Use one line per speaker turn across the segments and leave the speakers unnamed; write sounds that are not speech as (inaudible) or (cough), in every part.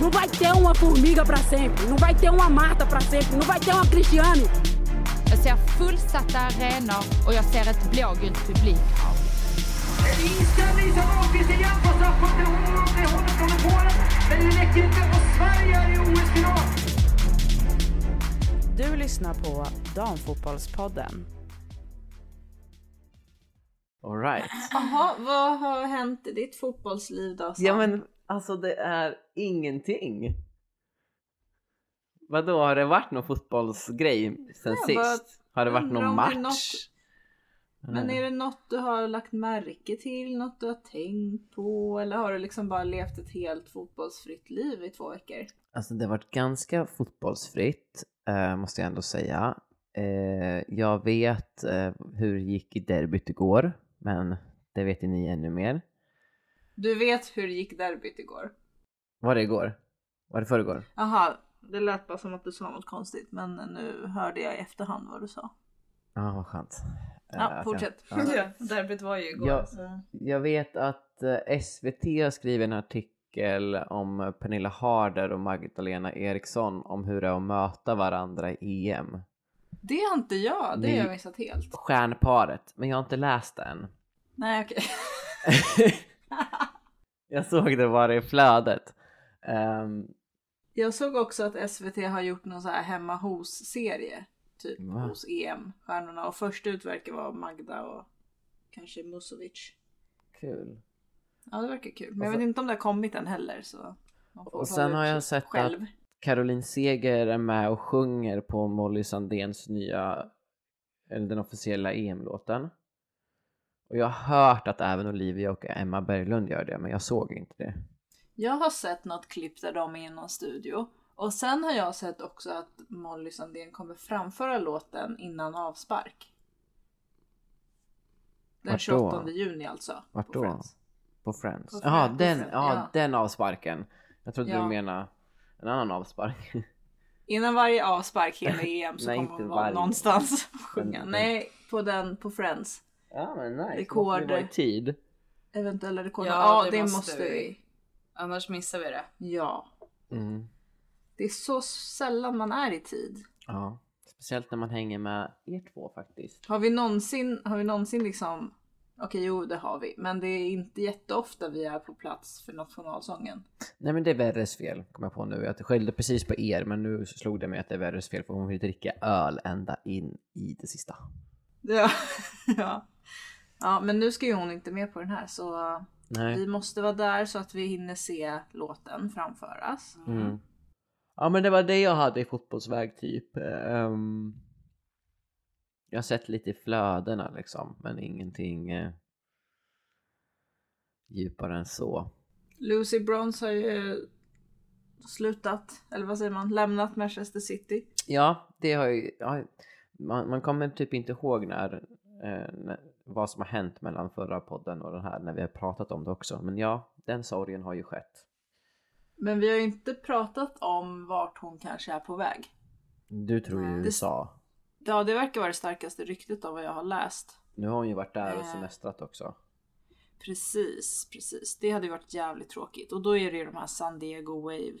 Não vai ter uma formiga para sempre, não vai ter uma Marta para sempre, não vai ter uma Cristiane.
Jag ser fullsatta arenor och jag ser ett blågult publikhav.
Inställning som Ahlqvist igen på straffpunkten. Hon håller från Polen, men det räcker inte. Och Sverige är i OS-final.
Du lyssnar på Damfotbollspodden.
Alright.
Jaha, vad har hänt i ditt fotbollsliv då? Sam?
Ja men alltså det är ingenting. Vadå, har det varit någon fotbollsgrej sen
Jag bara
sist? Har det varit
undrar
någon
om det är
match?
Men är det något du har lagt märke till, något du har tänkt på eller har du liksom bara levt ett helt fotbollsfritt liv i två veckor?
Alltså det har varit ganska fotbollsfritt, eh, måste jag ändå säga. Eh, jag vet eh, hur det gick i derbyt igår, men det vet ju ni ännu mer.
Du vet hur det gick derbyt igår?
Var det igår? Var det förrgår?
Jaha, det lät bara som att du sa något konstigt men nu hörde jag i efterhand vad du sa.
Ja, vad skönt. Eh, att
Ja,
jag-
fortsätt. (laughs)
ja.
derbyt var ju
igår, Ja.
Så.
Jag vet att eh, SVT har skrivit en artikel om eh, Pernilla Harder och Magdalena Eriksson om hur det är att möta varandra i E EM.
Det har inte jag, det
Ni-
har jag missat helt.
Stjärnparet, men jag har inte läst det än.
Nej okej.
jag såg det bara i flödet. Ehm,
Jag såg också att SVT har gjort någon så här hemma hos-serie. Typ
Va?
hos EM-stjärnorna. Och först ut verkar vara Magda och kanske Musovic.
kul.
Ja det verkar kul. Men
Och
jag
så-
vet inte om det har kommit än heller. Så man får
Och
hålla
sen har jag
utkik
sett att-
själv.
Caroline Seger är med och sjunger på Molly Sandéns nya, eller den officiella EM-låten. Och jag har hört att även Olivia och Emma Berglund gör det, men jag såg inte det.
Jag har sett något klipp där de är i någon studio. Och sen har jag sett också att Molly Sandén kommer framföra låten innan avspark. Den
Vart då?
28 juni alltså.
Vart
på
då?
Friends.
På Friends.
På
Jaha,
Friends,
den,
Friends,
ja,
ja.
den avsparken. Jag trodde
Ja.
du menade en annan avspark.
Innan varje avspark
(laughs)
hela EM så
Nej,
kommer
inte
hon vara
varje.
någonstans
(laughs)
och sjunga.
Men-
Nej, på den, på Friends.
(laughs) ja men nice.
Rekord.
Måste vi vara i tid.
Eventuella rekord.
Ja,
Ja,
det
det,
måste
måste
vi.
vi.
Annars missar vi det.
Ja.
Mm.
Det är så sällan man är i tid.
Ja. Speciellt när man hänger med er två faktiskt.
Har vi någonsin, har vi någonsin liksom... Okej, jo det har vi. Men det är inte jätteofta vi är på plats för nationalsången. (laughs)
Nej men det är Verres fel, kom jag på nu. Jag skällde precis på er, men nu slog det mig att det är Verres fel för hon vill dricka öl ända in i det sista.
Ja. ja. Ja, men nu ska ju hon inte med på den här så
Nej.
vi måste vara där så att vi hinner se låten framföras.
Mm. Ja men det var det jag hade i fotbollsväg typ. Ehm, jag har sett lite i flödena liksom, men ingenting eh, djupare än så.
Lucy Bronze har ju slutat, eller vad säger man, lämnat Manchester City.
Ja, det har ju... Ja, man, man kommer typ inte ihåg när, eh, när, vad som har hänt mellan förra podden och den här när vi har pratat om det också. Men ja, den sorgen har ju skett.
Men vi har ju inte pratat om vart hon kanske är på väg.
Du tror ju
Nej.
USA.
Ja, det verkar vara det starkaste ryktet av vad jag har läst.
Nu har hon ju varit där och
Eh.
semestrat också.
Precis, precis. Det hade ju varit jävligt tråkigt. Och då är det ju de här San Diego Wave.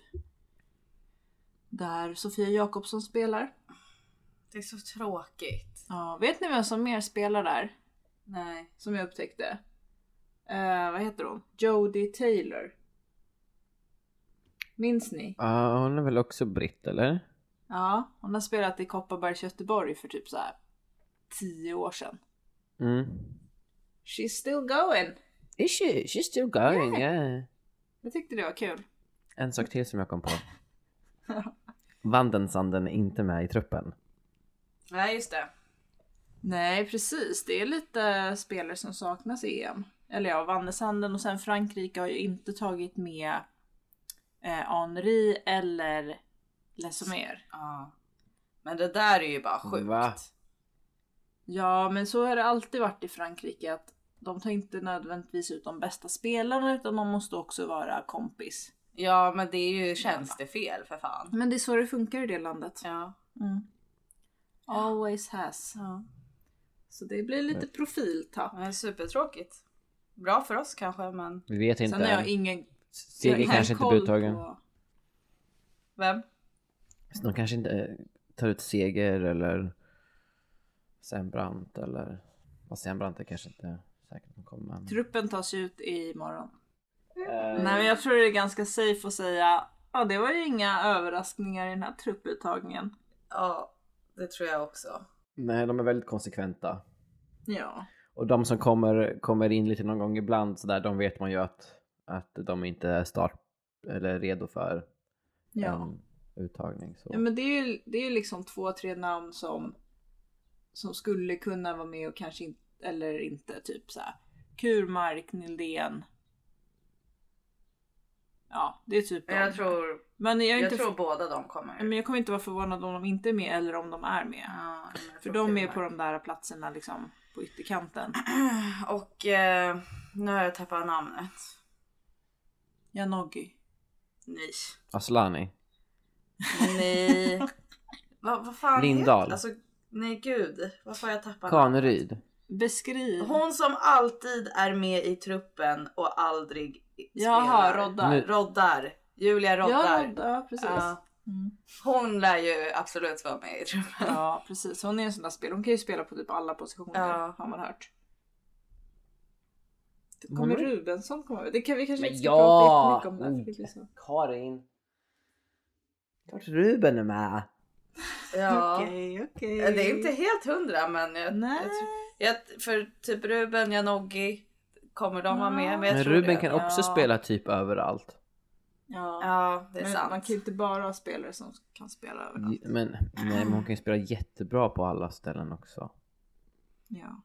Där Sofia Jakobsson spelar.
Det är så tråkigt.
Ja, vet ni vem som mer spelar där?
Nej.
Som jag upptäckte. Eh, vad heter hon? Jodie Taylor. Minns ni?
Ja, hon är väl också britt eller?
Ja, hon har spelat i Kopparbergs Göteborg för typ så här 10 år sedan.
Mm.
She's still going!
Is she? She's still going, yeah.
Jag tyckte det var kul.
En sak till som jag kom på. Vandensanden är inte med i truppen.
Nej, just det.
Nej, precis. Det är lite spelare som saknas i EM. Eller ja, Vannesanden och sen Frankrike har ju inte tagit med eh, Henri eller Lesomer.
Ja. Men det där är ju bara sjukt.
Va?
Ja, men så har det alltid varit i Frankrike att de tar inte nödvändigtvis ut de bästa spelarna utan de måste också vara kompis.
Ja, men det är ju tjänstefel för fan.
Men det är så det funkar i det landet.
Ja.
Mm. Always has.
ja.
Så det blir lite profiltapp.
Men supertråkigt. Bra för oss kanske, men...
Vi vet inte
Sen har
än.
jag ingen... jag har
Seger
ingen
kanske inte
koll
blir uttagen.
på-
Vem?
Så de kanske inte eh, tar ut Seger eller Sam Brandt eller... Vad Sam Brandt är kanske inte säkert de kommer men- Eh,
Truppen tas ut imorgon. Nej men jag tror det är ganska safe att säga ja det var ju inga överraskningar i den här trupputtagningen.
Ja, det tror jag också.
Nej, de är väldigt konsekventa.
Ja.
Och de som kommer, kommer in lite någon gång ibland sådär, de vet man ju att, att de inte är start eller redo för
Ja.
en uttagning. Så.
Ja men det är ju det är ju liksom två, tre namn som, som skulle kunna vara med och kanske inte, eller inte, typ så här. Kurmark, Nildén. Ja, det är typ
Men
de.
jag tror,
men jag, är
jag,
inte
tror båda de kommer.
men jag kommer inte vara förvånad om de inte är med eller om de är med.
Ja, men jag
För
tror
de är
Kurmark.
på de där platserna liksom på ytterkanten.
Och eh, nu har jag tappat namnet.
Janogy.
Nej.
Aslani.
Nej. Vad vad fan
Lindahl.
heter- Alltså, nej gud. Varför har jag tappat namnet?
Kaneryd.
Beskriv.
Hon som alltid är med i truppen och aldrig spelar.
Jaha, roddar.
Nu-
Roddar. Julia
Ja,
roddar.
roddar, precis. Mm.
Ja. Hon lär ju absolut vara med i truppen. (laughs)
Ja precis, hon är en sån där spel. Hon kan ju spela på typ alla positioner
Ja.
har man hört. Det
Hon
kommer
är-
Rubensson komma över? Det kan vi kanske
Men
inte ska
ja!
prata jättemycket om det här.
Oh.
Mm.
för det blir så-
Karin. Klart Ruben är med.
Ja.
Okej, okej.
Det är inte helt hundra men jag,
Nej.
jag, tror- jag, för typ Ruben, Janogy kommer de vara med. Men, jag
Men
tror
Ruben
det.
kan också
Ja.
spela typ överallt.
Ja.
Ja, det är
Men
sant.
man kan ju inte bara ha spelare som kan spela överallt.
Men, nej, men hon kan ju spela jättebra på alla ställen också.
Ja.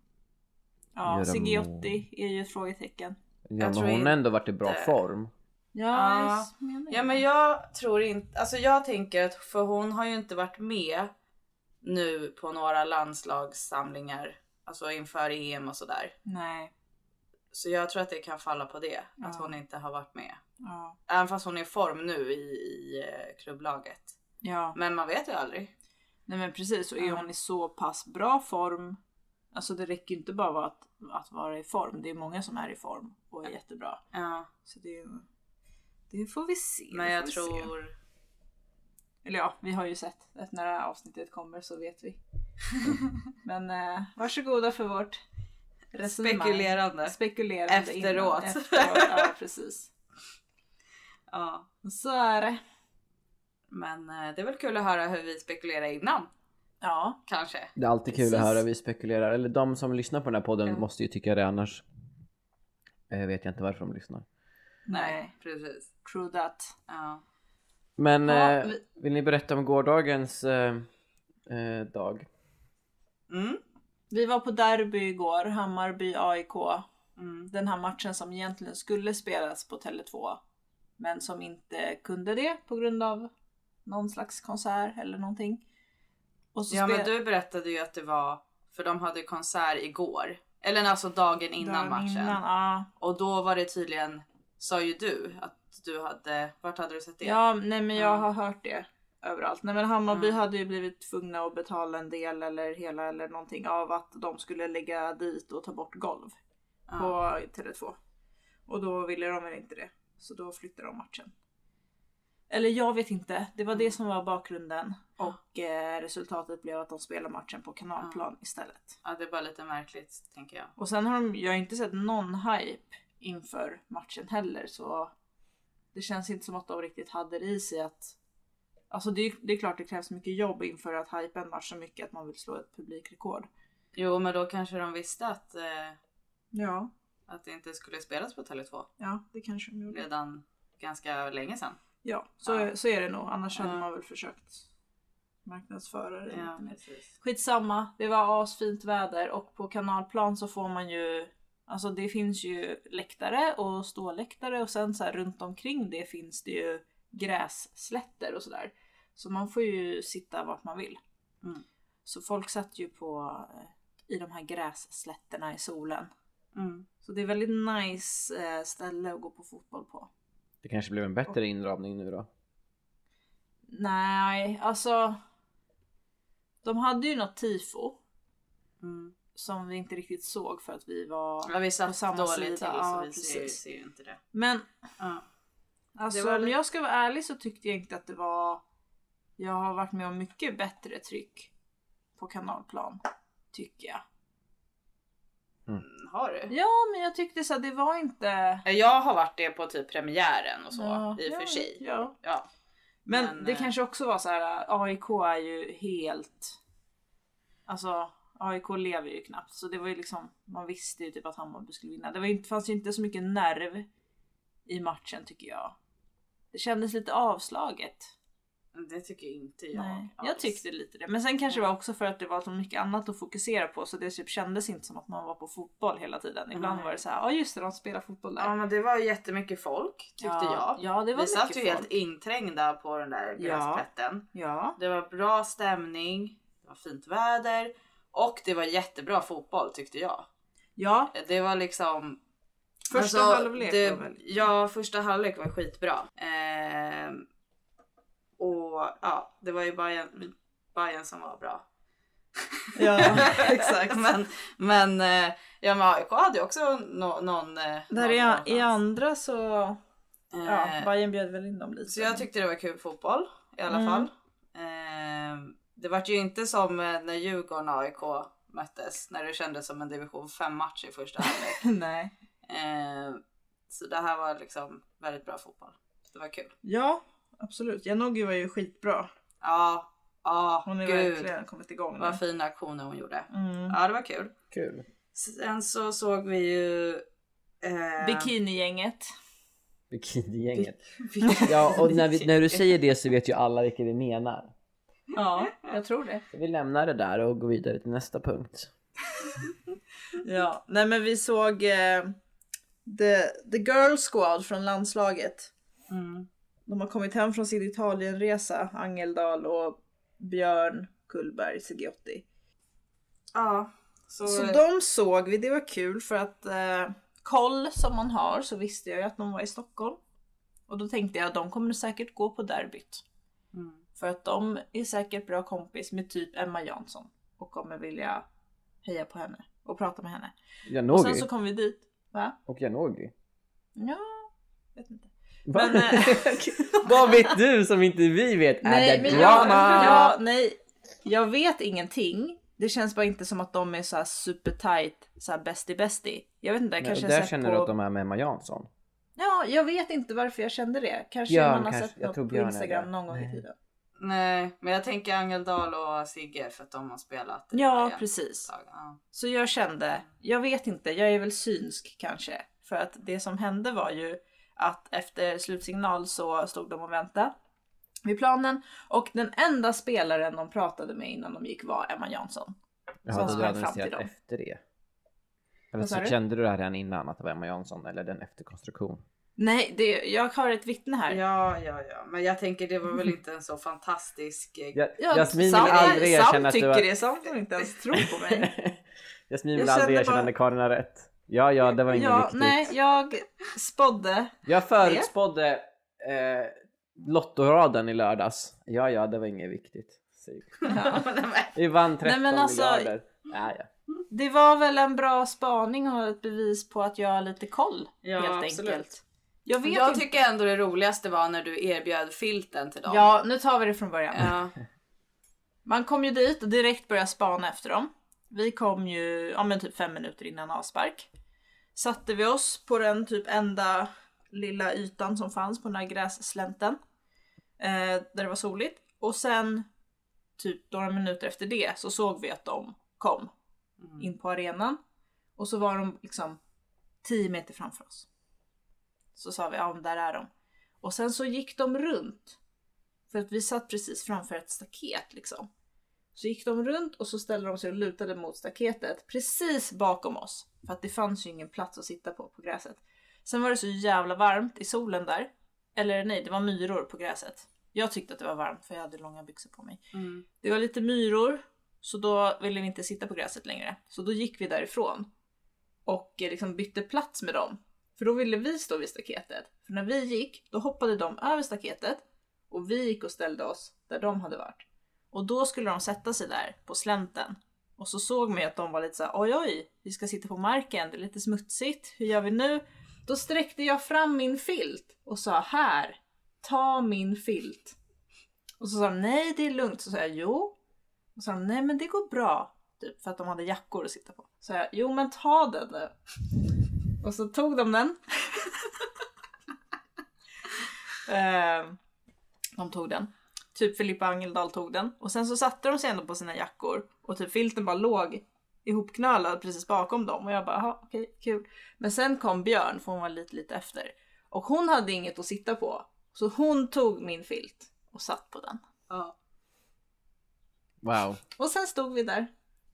Ja,
Göra
Sigiotti
mål.
är ju ett frågetecken.
Ja, men
tror
hon
inte-
har ändå varit i bra form.
Ja,
Ja.
jag menar
Ja
det.
men jag tror inte, alltså jag tänker att för hon har ju inte varit med nu på några landslagssamlingar, alltså inför EM och sådär.
Nej.
Så jag tror att det kan falla på det, att
Ja.
hon inte har varit med.
Ja.
Även fast hon är i form nu i, i eh, klubblaget.
ja.
Men man vet ju aldrig.
Nej men precis, och är
Ja.
hon i så pass bra form. Alltså det räcker ju inte bara vara att, att vara i form. Det är många som är i form och är jättebra.
Ja,
Så det, det får vi se.
men
det
jag
får vi se.
tror...
Eller ja, vi har ju sett. Att när det här avsnittet kommer så vet
(laughs)
vi. men eh, varsågoda för vårt resonemang.
Spekulerande.
Spekulerande innan-
Efteråt.
efteråt.
(laughs)
Ja, precis.
Ja.
Så är det.
Men eh, det är väl kul att höra hur vi spekulerar innan,
Ja,
kanske.
Det är alltid kul
Precis.
att höra vi spekulerar. Eller de som lyssnar på den här podden
Ja.
måste ju tycka det annars. Jag vet jag inte varför de lyssnar.
nej.
Precis.
True that.
Ja.
Men
Ja,
eh,
vi-
vill ni berätta om gårdagens eh, eh, dag?
Mm.
Vi var på derby igår, Hammarby-AIK.
Mm.
den här matchen som egentligen skulle spelas på Tele2 men som inte kunde det på grund av någon slags konsert eller någonting. Och så
Ja men
spel-
du berättade ju att det var, för de hade konsert igår. Eller alltså dagen innan
dagen
matchen.
Innan, ja.
Och då var det tydligen, sa ju du, att du hade, vart hade du sett det?
ja, nej men jag
Mm.
har hört det överallt. Nej men Hammarby
Mm.
hade ju blivit tvungna att betala en del eller hela eller någonting av att de skulle lägga dit och ta bort golv
Ja.
på Tele2. Och då ville de väl inte det. Så då flyttade de matchen. Eller jag vet inte. Det var det som var bakgrunden. Och eh, resultatet blev att de spelar matchen på kanalplan istället.
ja det är bara lite märkligt tänker jag.
Och sen har de, jag har inte sett någon hype inför matchen heller så det känns inte som att de riktigt hade det i sig att Alltså det är, det är klart det krävs mycket jobb inför att hypa en match så mycket att man vill slå ett publikrekord.
Jo men då kanske de visste att, eh,
Ja,
att det inte skulle spelas på Tele2
ja det kanske de gjorde.
redan ganska länge sedan.
Ja, så,
Ja.
så är det nog. Annars hade
Ja.
man väl försökt marknadsföra det
Ja,
lite mer.
precis.
Skitsamma, det var asfint väder och på kanalplan så får man ju Alltså det finns ju läktare och ståläktare och sen så här runt omkring det finns det ju grässlätter och sådär. Så man får ju sitta vart man vill.
Mm.
Så folk satt ju på eh, i de här grässlätterna i solen.
Mm.
Så det är väldigt nice eh, ställe att gå på fotboll på.
Det kanske blev en bättre inramning nu då?
Nej, alltså. De hade ju något tifo
Mm.
som vi inte riktigt såg för att vi var...
Ja vi
På
satt
samma
dåligt
sida,
till så
ja,
vi ser,
precis.
ser ju inte det.
Men
Ja.
Alltså
Det var
om
li-
jag ska vara ärlig så tyckte jag inte att det var... Jag har varit med om mycket bättre tryck på kanalplan, tycker jag.
Mm, Har du?
Ja, men jag tyckte så att det var inte...
Jag har varit det på typ premiären och så
Ja,
i och för
ja,
sig.
Ja.
Ja.
Men,
Men,
det
eh,
kanske också var så här, AIK är ju helt... Alltså AIK lever ju knappt så det var ju liksom, man visste ju typ att Hammarby skulle vinna. Det var ju, inte- fanns ju inte så mycket nerv i matchen tycker jag. Det kändes lite avslaget.
Det tycker inte jag.
Jag,
alls.
jag tyckte lite det. Men sen kanske det var också för att det var så mycket annat att fokusera på så det typ kändes inte som att man var på fotboll hela tiden. Ibland
Nej.
var det så här, ja just det de spelar fotboll där.
Ja men det var ju jättemycket folk tyckte
ja,
jag.
Ja det var
Vi satt ju
mycket
helt
folk.
inträngda på den där
Ja.
gräsplätten.
Ja.
Det var bra stämning, det var fint väder och det var jättebra fotboll tyckte jag.
Ja.
Det var liksom...
Första
alltså,
halvlek
det-
var väl-
Ja, första halvlek var skitbra. Ehm, och ja, det var ju Bayern, Bayern som var bra. (laughs)
ja.
Exakt. Men, men, eh, ja, men AIK hade ju också nå- någon... eh,
Där
någon
i,
chans.
i andra så... Ja,
Eh,
Bayern bjöd väl in dem lite.
Så jag (laughs) tyckte det var kul fotboll i alla
Mm.
fall. Ehm, det var ju inte som eh, när Djurgården och AIK möttes när det kändes som en division 5 match i
(laughs)
första halvlek.
Nej.
Ehm, så det här var liksom väldigt bra fotboll. Det var kul.
Ja, absolut. Janogy var ju skitbra.
Ja, ja,
Hon har
gud
verkligen kommit igång nu.
vad fina aktioner hon gjorde.
Mm.
Ja, det var kul.
Kul.
Sen så såg vi ju eh,
Bikinigänget.
Bikinigänget.
(laughs)
Ja, och när, vi, när du säger det så vet ju alla vilka vi menar.
Ja, (laughs) jag tror det.
Vi lämnar det där och går vidare till nästa punkt.
Ja, nej men vi såg eh, the, the Girl Squad från landslaget.
Mm.
De har kommit hem från sin Italienresa, Angeldal och Björn Kullberg Sigiotti.
Ja, så, eh,
Så de såg vi, det var kul för att eh, koll som man har så visste jag ju att de var i Stockholm. Och då tänkte jag att de kommer säkert gå på derbyt.
Mm.
För att de är säkert bra kompis med typ Emma Jansson och kommer vilja heja på henne och prata med henne. Och sen
Janogy
så kom vi dit. Va?
och Janogy.
Ja, vet inte.
Va?
Men, eh,
(laughs) Vad vet du som inte vi vet? Är det
men
drama?
Jag, ja, nej, jag vet ingenting. Det känns bara inte som att de är så här super tight, så här bestie bestie. Jag vet inte, jag
Men
kanske har
där
sett
känner
på...
du att de är med Emma Jansson.
Ja, jag vet inte varför jag kände det. Kanske
Björn
man har
kanske-
sett
jag
något
tror
på
Björn är
Instagram
det.
någon gång
Nej.
i tiden.
nej, men jag tänker Angeldal och Sigge för att de har spelat. i
Ja,
Bayern.
precis.
Ja.
Så jag kände, jag vet inte, jag är väl synsk kanske. För att det som hände var ju att efter slutsignal så stod de och väntade vid planen och den enda spelaren de pratade med innan de gick var Emma Jansson.
Jag
Som
hade du
sprang fram till
analyserat
dem.
efter det. Eller
Vad sa
så
du?
kände du det här redan innan att det var Emma Jansson eller den efterkonstruktion.
Nej, det, jag har ett vittne här.
Ja, ja, ja, men jag tänker det var
(laughs)
väl inte en så fantastisk... eh,
Ja,
Ja,
Jasmin vill
Sam-
aldrig
Sam
erkänna att du
tycker
var...
det, Sam som inte ens tror på
(laughs)
mig.
Jasmin
Jag
vill aldrig
kände
erkänna
bara-
när Karin har rätt. Ja, ja, det var inget
ja,
viktigt.
nej, jag spådde.
Jag förutspådde eh, lottoraden i lördags. Ja, ja, det var inget viktigt. säger vi. Vi vann 13
men alltså-
miljarder. Ja, ja.
Det var väl en bra spaning och ett bevis på att jag har lite koll
Ja,
helt
absolut.
enkelt. Jag vet
Jag
inte.
tycker ändå det roligaste var när du erbjöd filten till dem.
Ja, nu tar vi det från början.
(laughs)
Ja.
Man kom ju dit och direkt började spana efter dem. Vi kom ju ja, men typ fem minuter innan avspark. Satte vi oss på den typ enda lilla ytan som fanns på den här grässlänten. Eh, där det var soligt. Och sen typ några minuter efter det så såg vi att de kom in på arenan. Och så var de liksom 10 meter framför oss. Så sa vi, ja men där är de. Och sen så gick de runt. För att vi satt precis framför ett staket liksom. Så gick de runt och så ställde de sig och lutade mot staketet precis bakom oss. För att det fanns ju ingen plats att sitta på på gräset. Sen var det så jävla varmt i solen där. Eller nej, det var myror på gräset. Jag tyckte att det var varmt för jag hade långa byxor på mig.
Mm.
Det var lite myror, så då ville vi inte sitta på gräset längre. Så då gick vi därifrån och eh, liksom bytte plats med dem. För då ville vi stå vid staketet. För när vi gick, då hoppade de över staketet och vi gick och ställde oss där de hade varit. Och då skulle de sätta sig där på slänten. Och så såg man ju att de var lite så här: oj oj, vi ska sitta på marken, det är lite smutsigt, hur gör vi nu? Då sträckte jag fram min filt och sa här, ta min filt. Och så sa de nej det är lugnt. Så sa jag jo. Och så sa de nej men det går bra. Typ för att de hade jackor att sitta på. Så sa jag jo men ta den nu. (laughs) Och så tog de den. (laughs) Ehm, de tog den. Typ Filippa Angeldal tog den. Och sen så satte de sig ändå på sina jackor. Och typ filten bara låg ihopknölad precis bakom dem. Och jag bara, "Jaha, okej, kul. Men sen kom Björn, för hon var lite, lite efter. Och hon hade inget att sitta på. Så hon tog min filt och satt på den.
Ja.
Wow.
Och sen stod vi där,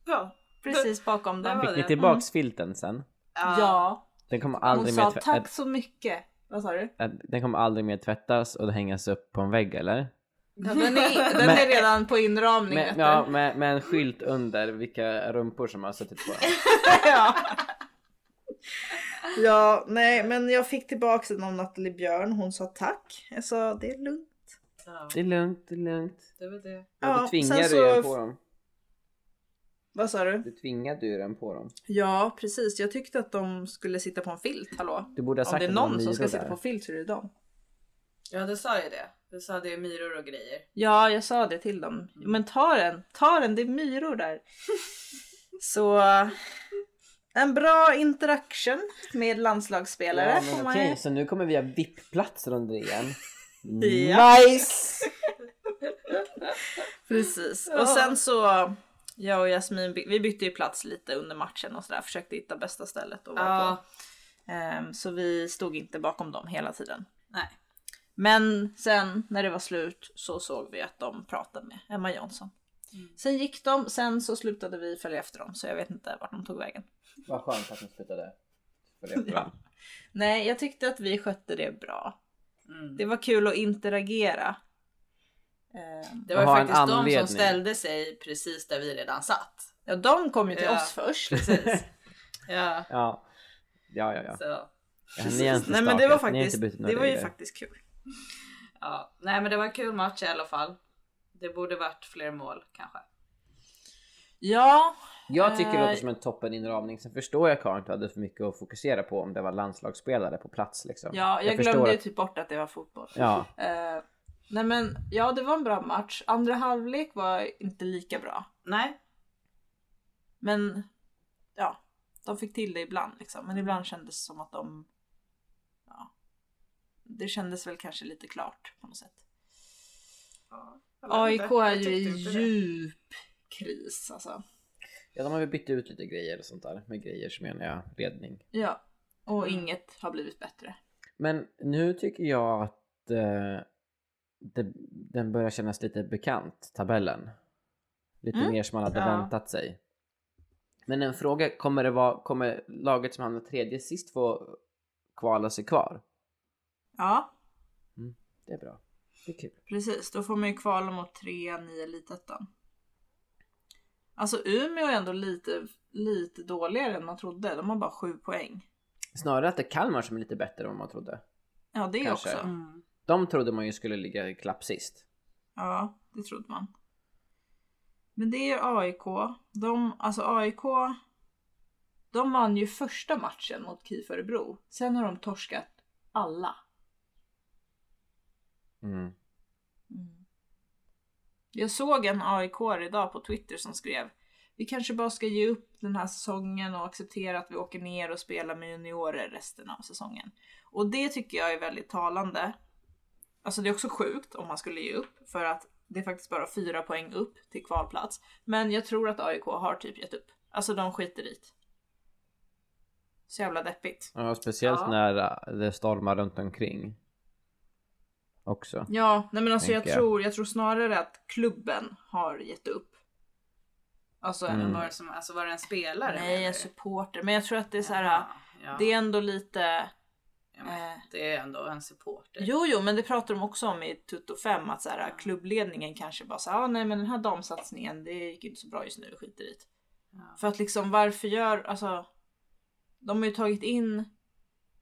Ja.
precis bakom
Där
dem.
var
Fick ni
det.
tillbaks filten sen?
Ja,
Den kommer
hon
aldrig
sa
mer tvä-
tack så mycket. Vad sa
(laughs)
du?
att- den kommer aldrig mer tvättas och hängas upp på en vägg eller?
Den är, den är redan på inramning vet
Med,
du.
ja, med, med en skylt under vilka rumpor som har suttit på den.
ja. (laughs) ja, nej men jag fick tillbaka den av Nathalie Björn. Hon sa tack. Jag sa det är lugnt.
Ja,
Det är lugnt, det är lugnt.
det var det.
Ja,
Ja,
du
sen
tvingade
så-
ju den på dem.
Vad sa du?
Du tvingade ju den på dem.
Ja, precis. Jag tyckte att de skulle sitta på en filt. Hallå?
Du borde ha sagt
Om det är
att var
någon som ska
myror
sitta
där.
på filt så är det dem.
Ja, du sa ju det. Du sa det är myror och grejer.
Ja, jag sa det till dem. Men ta den, ta den, det är myror (laughs) där. så en bra interaction med landslagsspelare
Ja,
får
men
man
okej,
ju-
så nu kommer vi ha VIP-platser under igen.
Ja.
Nice!
(laughs) Precis. Och sen så, jag och Jasmin, by- vi bytte ju plats lite under matchen och sådär. Försökte hitta bästa stället att vara på.
Ja.
Ehm, så vi stod inte bakom dem hela tiden.
Nej.
Men sen när det var slut så såg vi att de pratade med Emma Jansson.
Mm.
Sen gick de, sen så slutade vi följa efter dem så jag vet inte vart de tog vägen.
Vad skönt att ni slutade. För det.
Ja. (laughs) Nej, jag tyckte att vi skötte det bra.
Mm.
Det var kul att interagera. Ehm,
Det var ju
Och ha en
faktiskt de
anledning.
som ställde sig precis där vi
(laughs)
redan satt.
Ja, de kom ju till
Ja.
oss först. liksom.
(laughs)
Precis. ja.
Ja. Ja, ja, ja.
Så.
ja ni har inte
Nej men det var
stakat, ni har inte
faktiskt,
brutit några
det var ju
regler.
faktiskt kul.
ja. Nej men det var en kul match i alla fall. Det borde varit fler mål kanske.
Ja,
Jag tycker det
Eh,
låter som en toppen inramning. Sen förstår jag Karin att du hade för mycket att fokusera på om det var landslagsspelare på plats liksom.
ja jag,
förstår
glömde ju
att-
typ bort att det var fotboll.
Ja,
Eh, nej men ja, det var en bra match. Andra halvlek var inte lika bra.
Nej.
Men ja, de fick till det ibland liksom. Men ibland kändes det som att de... Ja, det kändes väl kanske lite klart på något sätt. AIK är ju i djup kris alltså.
ja, de har ju bytt ut lite grejer och sånt där. Med grejer så menar jag ledning.
Ja, och inget har blivit bättre.
Men nu tycker jag att eh, det, den börjar kännas lite bekant, tabellen. Lite
Mm.
mer som man hade
Ja.
väntat sig. Men en fråga, kommer, det vara, kommer laget som hamnar tredje sist få kvala sig kvar?
Ja,
Det är bra. Det är kul.
precis. Då får man ju kvala mot trean i elitettan. Alltså Umeå är ändå lite, lite dåligare än man trodde. De har bara sju poäng.
Snarare att det är Kalmar som är lite bättre än vad man trodde.
Ja, det
Kanske.
också.
Mm.
De trodde man ju skulle ligga i klapp sist.
Ja, det trodde man. Men det är AIK. De, alltså AIK, de vann ju första matchen mot KIF Örebro. Sen har de torskat alla.
Mm.
Jag såg en AIK idag på Twitter som skrev Vi kanske bara ska ge upp den här säsongen och acceptera att vi åker ner och spelar med juniorer resten av säsongen. Och det tycker jag är väldigt talande. Alltså det är också sjukt om man skulle ge upp för att det är faktiskt bara fyra poäng upp till kvalplats. Men jag tror att AIK har typ gett upp. Alltså de skiter i det. Så jävla deppigt.
Ja, speciellt
Ja.
när eh, det stormar runt omkring. Också.
Ja, nej men alltså jag
Tänker jag.
tror, jag tror snarare att klubben har gett upp. Alltså än
Mm.
Var det som, alltså var det en spelare? menar
Nej,
du?
en supporter. Men jag tror att det är så här.
Jaha, ja.
Det är ändå lite...
Ja, men
eh,
det är ändå en supporter.
Jo, jo, men det pratar de också om i Tutto 5 att så här, klubbledningen kanske bara så här, ah, nej men den här damsatsningen, det gick ju inte så bra just nu, skiter i det."
Ja.
För att liksom varför gör, alltså. De har ju tagit in,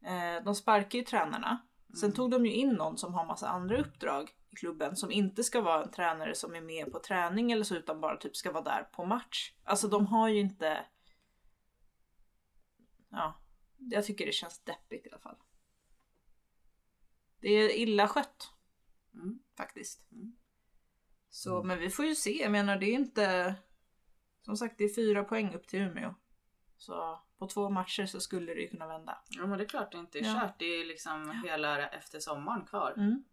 eh, de sparkar ju tränarna. Sen tog de ju in någon som har massa andra uppdrag i klubben som inte ska vara en tränare som är med på träning eller så utan bara typ ska vara där på match. Alltså de har ju inte. Ja, Jag tycker det känns deppigt i alla fall. Det är illa skött. Mm, Faktiskt. Så, men vi får ju se. Jag menar, det är inte... Som sagt, det är fyra poäng upp till Umeå. Så på två matcher så skulle det ju kunna vända.
Ja men det är klart det inte är
Ja.
kört. Det är liksom hela efter sommaren kvar.
Mm.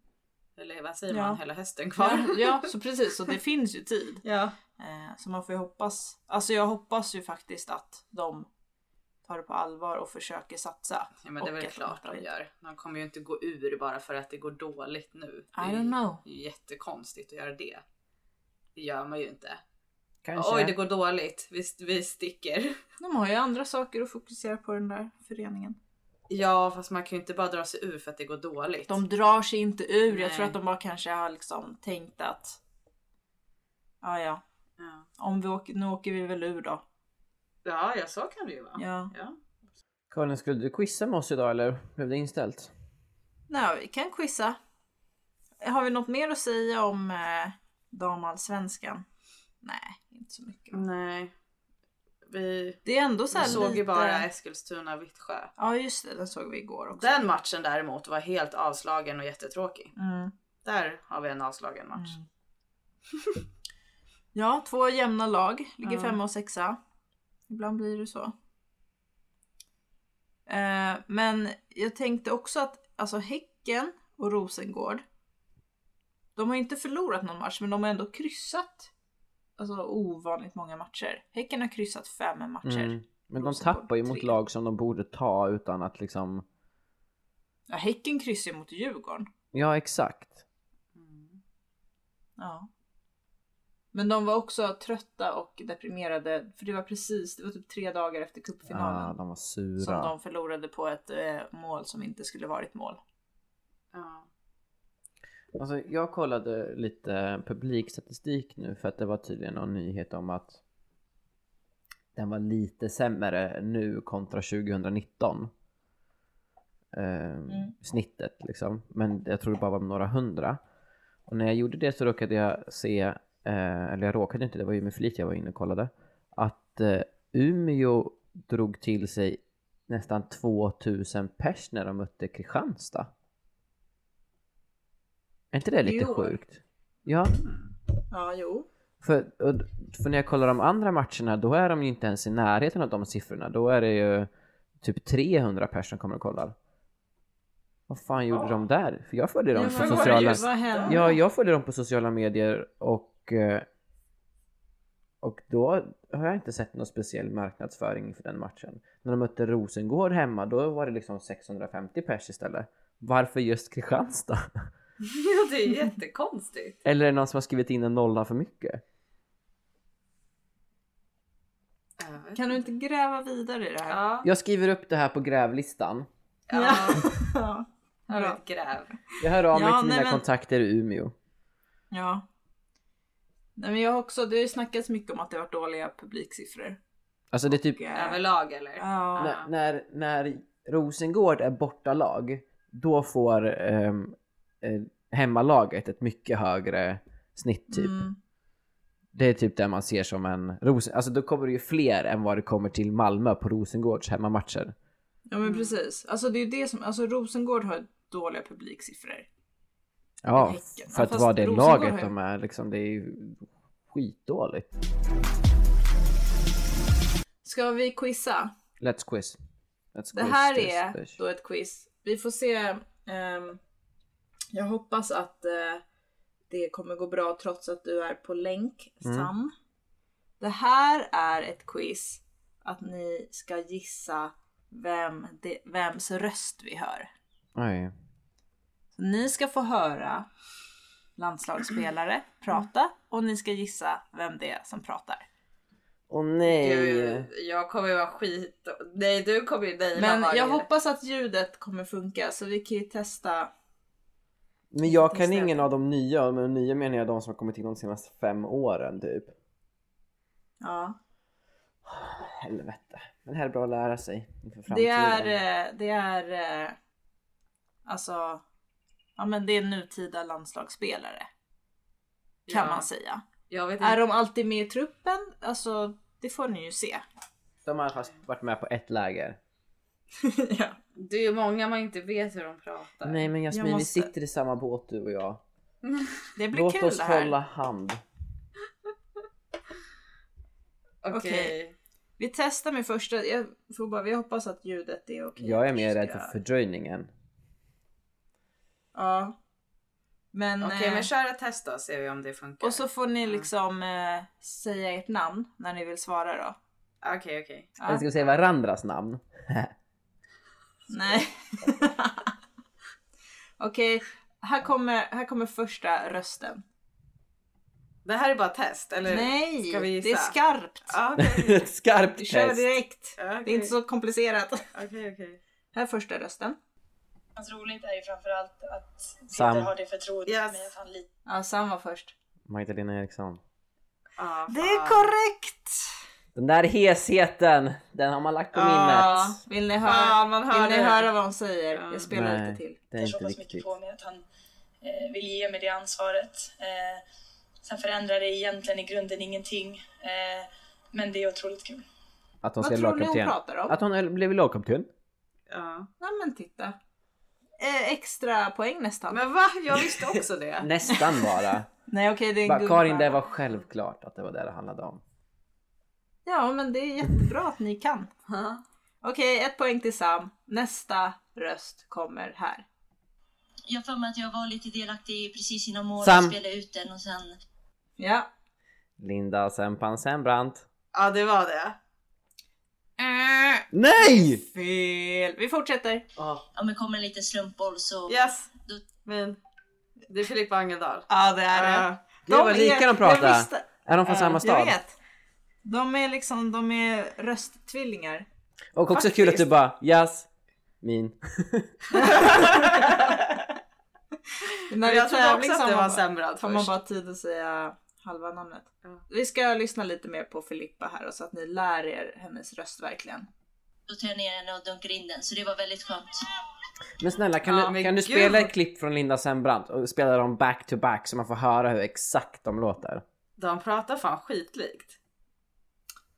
Eller vad säger
Ja.
man? Hela hösten
Ja,
kvar.
(laughs) ja, så precis. Så det finns ju (laughs) tid.
ja.
Eh, så man får ju hoppas. Alltså jag hoppas ju faktiskt att de tar det på allvar och försöker satsa.
(laughs) Ja men det är
Och
väl
att
klart
de tar
de
dit.
gör. De kommer ju inte gå ur bara för att det går dåligt nu. Det
I
är
don't know.
ju jättekonstigt att göra det. Det gör man ju inte.
Kanske.
Oj det går dåligt, vi, vi sticker.
De har ju andra saker att fokusera på den där föreningen.
Ja fast man kan ju inte bara dra sig ur för att det går dåligt.
De drar sig inte ur. Jag tror
Nej.
att de bara kanske har liksom tänkt att ja, ja,
Ja.
om vi åker, nu åker vi väl ur då.
ja ja så kan det ju vara.
Ja.
Ja.
Karin, skulle du quizza med oss idag eller blev det inställt?
Nej, vi kan quizza. Har vi något mer att säga om eh, damallsvenskan? Nej, inte så mycket.
Nej. Vi
Det är ändå så här
Mm. såg
lite...
ju bara Eskilstuna-Vittsjö.
Ja just det, den såg vi igår också.
Den matchen däremot var helt avslagen och jättetråkig.
Mm.
Där har vi en avslagen match.
Ja, två jämna lag. Ligger
Ja.
femma och sexa. Ibland blir det så. Eh, men jag tänkte också att alltså Häcken och Rosengård. De har inte förlorat någon match men de har ändå kryssat. Alltså ovanligt många matcher. Häcken har kryssat fem matcher.
Mm. Men de
Rosengård
tappar ju mot
tre.
lag som de borde ta utan att liksom...
Ja, häcken kryssar ju mot Djurgården.
Ja, exakt.
Mm.
Mm.
Ja. Men de var också trötta och deprimerade för det var precis, det var typ tre dagar efter
Ja,
cupfinalen
Ah, de var
som
sura.
de förlorade på ett eh, mål som inte skulle varit mål.
Ja.
Alltså, jag kollade lite publikstatistik nu för att det var tydligen någon nyhet om att den var lite sämre nu kontra 2019. Ehm, Snittet liksom. Men jag tror det bara var några hundra. Och när jag gjorde det så råkade jag se, eh, eller jag råkade inte, det var ju med flit jag var inne och kollade, att eh, Umeå drog till sig nästan 2000 pers när de mötte Kristianstad. Är inte det lite
år?
sjukt? Ja.
Ja, jo.
För, och- för när jag kollar de andra matcherna då är de ju inte ens i närheten av de siffrorna. Då är det ju typ 300 personer som kommer och kollar. Vad fan gjorde de där? För jag följde dem på
vad var det
sociala...
just-
Vad hände?
Ja, jag följde dem på sociala medier och... eh, Och då har jag inte sett någon speciell marknadsföring för den matchen. När de mötte Rosengård hemma då var det liksom 650 pers istället. Varför just Kristianstad? (laughs)
ja det är jättekonstigt.
Eller är det någon som har skrivit in en nolla för mycket?
Kan du inte gräva vidare i det här?
Ja.
Jag skriver upp det här på grävlistan.
Ja.
(laughs) Ja.
Har du
Bra.
ett gräv?
Jag hör av mig
Ja,
till
nej,
mina
men-
kontakter i Umeå.
ja. Nej, men jag har också, det har ju snackats mycket om att det har varit dåliga publiksiffror.
Alltså det är typ
Ja.
Överlag eller?
Ja. Mm.
när, när, när Rosengård är bortalag, då får ehm, eh, hemmalaget ett mycket högre snitt typ.
Mm.
Det är typ det man ser som en Rosen... Alltså då kommer det ju fler än vad det kommer till Malmö på Rosengårds hemmamatcher.
Ja men precis. Alltså det är ju det som, alltså Rosengård har dåliga publiksiffror.
Ja,
Häcken. Ja,
för att
fast
vara det
Rosengård har
laget
ju-
de är liksom, det är ju skitdåligt.
Ska vi quizza?
Let's quiz. Let's
Det
quiz
här
this
är
bitch.
då ett quiz. Vi får se. ehm, jag hoppas att eh, det kommer gå bra trots att du är på länk,
Mm.
Sam. Det här är ett quiz att ni ska gissa vem det, vems röst vi hör.
Oj.
Så ni ska få höra landslagsspelare
Mm.
prata och ni ska gissa vem det är som pratar.
Åh nej.
Du, jag kommer ju vara skit... Nej du kommer ju naila
Men
varje-
jag hoppas att ljudet kommer funka så vi kan ju testa
Men jag kan
Städer.
ingen av de nya, men nya menar jag de som har kommit in de senaste fem åren typ.
ja,
Helvete. Men det här är bra att lära sig inför
Det
framtiden.
är, eh, det är eh, alltså, ja men det är nutida landslagsspelare. Kan
Ja.
man säga.
Jag vet
Är
inte.
de alltid med i
(laughs)
truppen? Alltså, det får ni ju se.
De har fast varit med på ett läger.
ja.
Det är ju många man inte vet hur de pratar.
Nej men Jasmin,
Jag
vi
måste-
sitter i samma båt du och jag.
Det blir
Låt
kul
oss
det här.
hålla hand.
Okej.
Okej. Vi testar med första. Jag får bara, vi hoppas att ljudet är okej.
Jag är mer
Ska-
rädd för fördröjningen.
Ja. Men,
Okej
eh,
men kör ett test då ser vi om det funkar.
och så får ni liksom eh, säga ert namn när ni vill svara då.
Okej okej.
Ja.
Eller ska vi säga varandras namn?
Nej. (laughs) Okej, här, kommer, här kommer första rösten.
Det här är bara test eller?
Nej,
Ska vi gissa?
det är skarpt.
Ja, Okej
Ett (laughs) skarpt
Mm. Vi kör
test!
direkt.
Ja, okej.
Det är inte så komplicerat.
okej okej.
Här är första rösten.
Hans Alltså, roligt är ju framförallt att Peter
Sam.
har det förtroendet
Yes.
med att han litar
Ja, Sam var först.
Magdalena Eriksson.
Ja,
Det är
fan.
korrekt!
Den där hesheten, den har man lagt på
Ah. Ja,
minnet.
vill ni höra,
Fan man hör
vill ni
det.
höra vad de säger?
Ja.
Jag spelar
Nej,
lite till.
Det är
så
inte
pass mycket
viktigt.
på mig att han eh, vill ge mig det ansvaret. Eh, sen förändrar det egentligen i grunden ingenting. Eh, men det är otroligt kul.
Att hon ska
Vad
bli
tror ni hon
lagkapten.
pratar om?
Att hon är- blev lagkapten.
Ja.
Nej men titta. Eh, extra poäng nästan.
Men va? Jag visste också
(laughs)
det.
Nästan bara.
Nej okej det är en
bara
gubbe.
Karin, det var självklart att det var det det handlade om.
Ja men det är jättebra att ni kan.
Ja.
Okej, ett poäng till Sam. Nästa röst kommer här.
Jag för mig att jag var lite delaktig precis innan mål.
Sam.
Spelade ut den och sen
Ja.
Linda Sempan Sembrant.
ja det var det.
Äh,
Nej!
fel. Vi fortsätter.
ja, men kom en liten slumpboll så...
Yes. Men det är Filippa Angeldal.
Ja det är det.
Ja.
Gud vad lika de pratar.
jag visste-
Är de från samma
Jag
stad?
vet. De är liksom, de är rösttvillingar.
Och också kul att du bara Jasmin. min.
När
Men
det är
jag trodde
tävling
också att det var
så
sämre allt
får liksom man
först.
bara tid att säga halva namnet.
Ja.
Vi ska lyssna lite mer på Filippa här och så att ni lär er hennes röst verkligen.
Då tar jag ner den och dunkar in den. Så det var väldigt skönt.
Men snälla kan,
Ja,
du,
men
kan du
gud.
spela ett klipp från Linda Sembrant och spela dem back to back så man får höra hur exakt de låter?
De pratar fan skitlikt.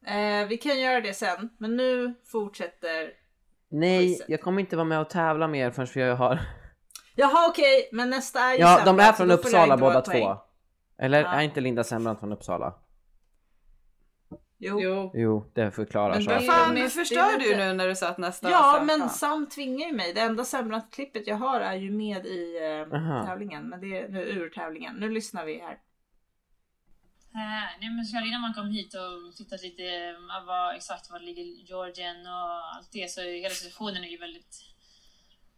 Eh, vi kan göra det sen, men nu fortsätter...
Nej,
Quizet.
jag kommer inte vara med och tävla med er förrän vi har...
Jaha okej, men nästa är ju
Ja,
sämre,
de är
så
från
alltså, då får det
Uppsala
inte vara
båda
poäng.
två. Eller
Ja.
är inte Linda Sembrant från Uppsala?
Jo.
Jo, det förklarar
Men
så.
det
Men
är
fan
lite-
nu förstör
det är
du
lite-
nu när du sa att nästa
Ja,
var
men
Sam.
Sam tvingar ju mig. Det enda Sembrant-klippet jag har är ju med i eh,
Aha.
tävlingen, men det är nu ur tävlingen. Nu lyssnar vi här.
Eh, nej men så innan man kom hit och tittat lite eh, vad, exakt var ligger Georgien och allt det så hela situationen är ju väldigt,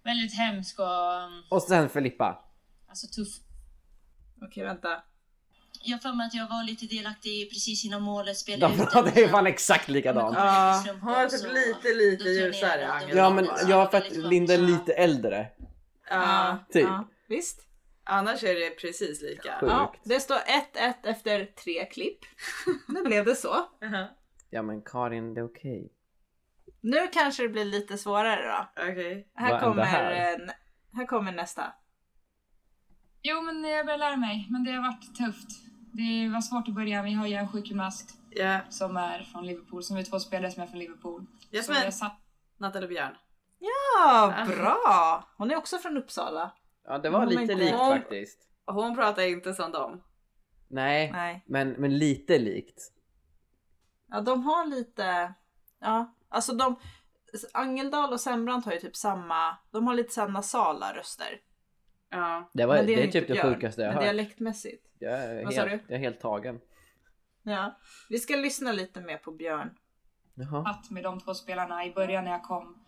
väldigt hemsk och um,
Och sen Filippa.
alltså tuff.
Okej, vänta.
Jag har för mig att jag var lite delaktig precis innan målet spelade
De pratar ju fan exakt likadant.
Ja, hon är typ lite, lite ljusare, Angela.
Ja men ja för att Linda är lite äldre.
Ja,
Typ.
Ja, visst.
annars är det precis lika.
Sjukt.
Ja, det står 1-1 efter tre klipp. (laughs) nu blev det så.
Aha,
Ja men Karin, det är okej.
Nu kanske det blir lite svårare då.
Okej.
Här,
Vad är det
kommer,
här?
eh, nä- här kommer nästa.
Jo men jag börjar lära mig men det har varit tufft. Det var svårt i början, vi har ju en sjukgymnast
Ja.
som är från Liverpool, som är två spelare som är från Liverpool.
Jasmin,
Så jag satt
Nathalie Björn.
Ja, bra! Hon är också från Uppsala.
Ja det var
Oh my
lite
God.
likt faktiskt.
Och Hon pratar inte som dem.
Nej,
Nej.
Men, men lite likt.
Ja, de har lite... Ja, alltså de... Angeldal och Sembrant har ju typ samma... De har lite samma nasala röster.
Ja.
Det, var, det,
Men
är
ju
typ det
Björn.
sjukaste jag
Men
har hört.
dialektmässigt.
Jag är,
Vad sa
helt, jag är helt tagen.
Ja. Vi ska lyssna lite mer på Björn.
Jaha.
haft med de två spelarna i början när jag kom.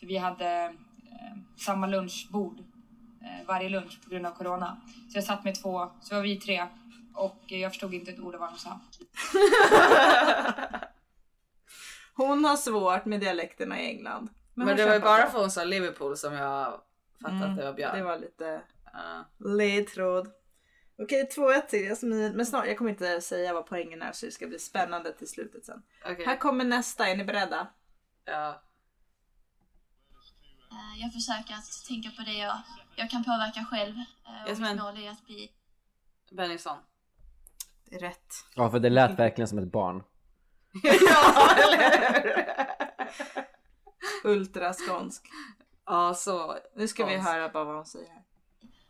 För vi hade eh, samma lunchbord eh, varje lunch på grund av corona. Så jag satt med två, så var vi tre och eh, jag förstod inte ett ord av vad de sa.
(laughs)
Hon har svårt med dialekterna i England.
Men,
hon
det var ju
kämpar
bara
på.
för hon sa Liverpool som jag fattade att det var Björn.
Det var lite
Ja.
ledtråd. Okej, 2-1 till Jasmin. Men snart, jag kommer inte säga vad poängen är så det ska bli spännande till slutet sen.
Okej.
Här kommer nästa, är ni beredda?
Ja.
Eh, Jag försöker att tänka på det jag, jag kan påverka själv. Eh, Och
Jasmin.
mitt mål är att bli
Bennison.
Det är rätt.
Ja för det lät verkligen som ett barn.
ja, eller hur?
Ultraskånsk.
Ja, så.
Nu ska vi
Skånsk.
höra bara vad hon säger. här.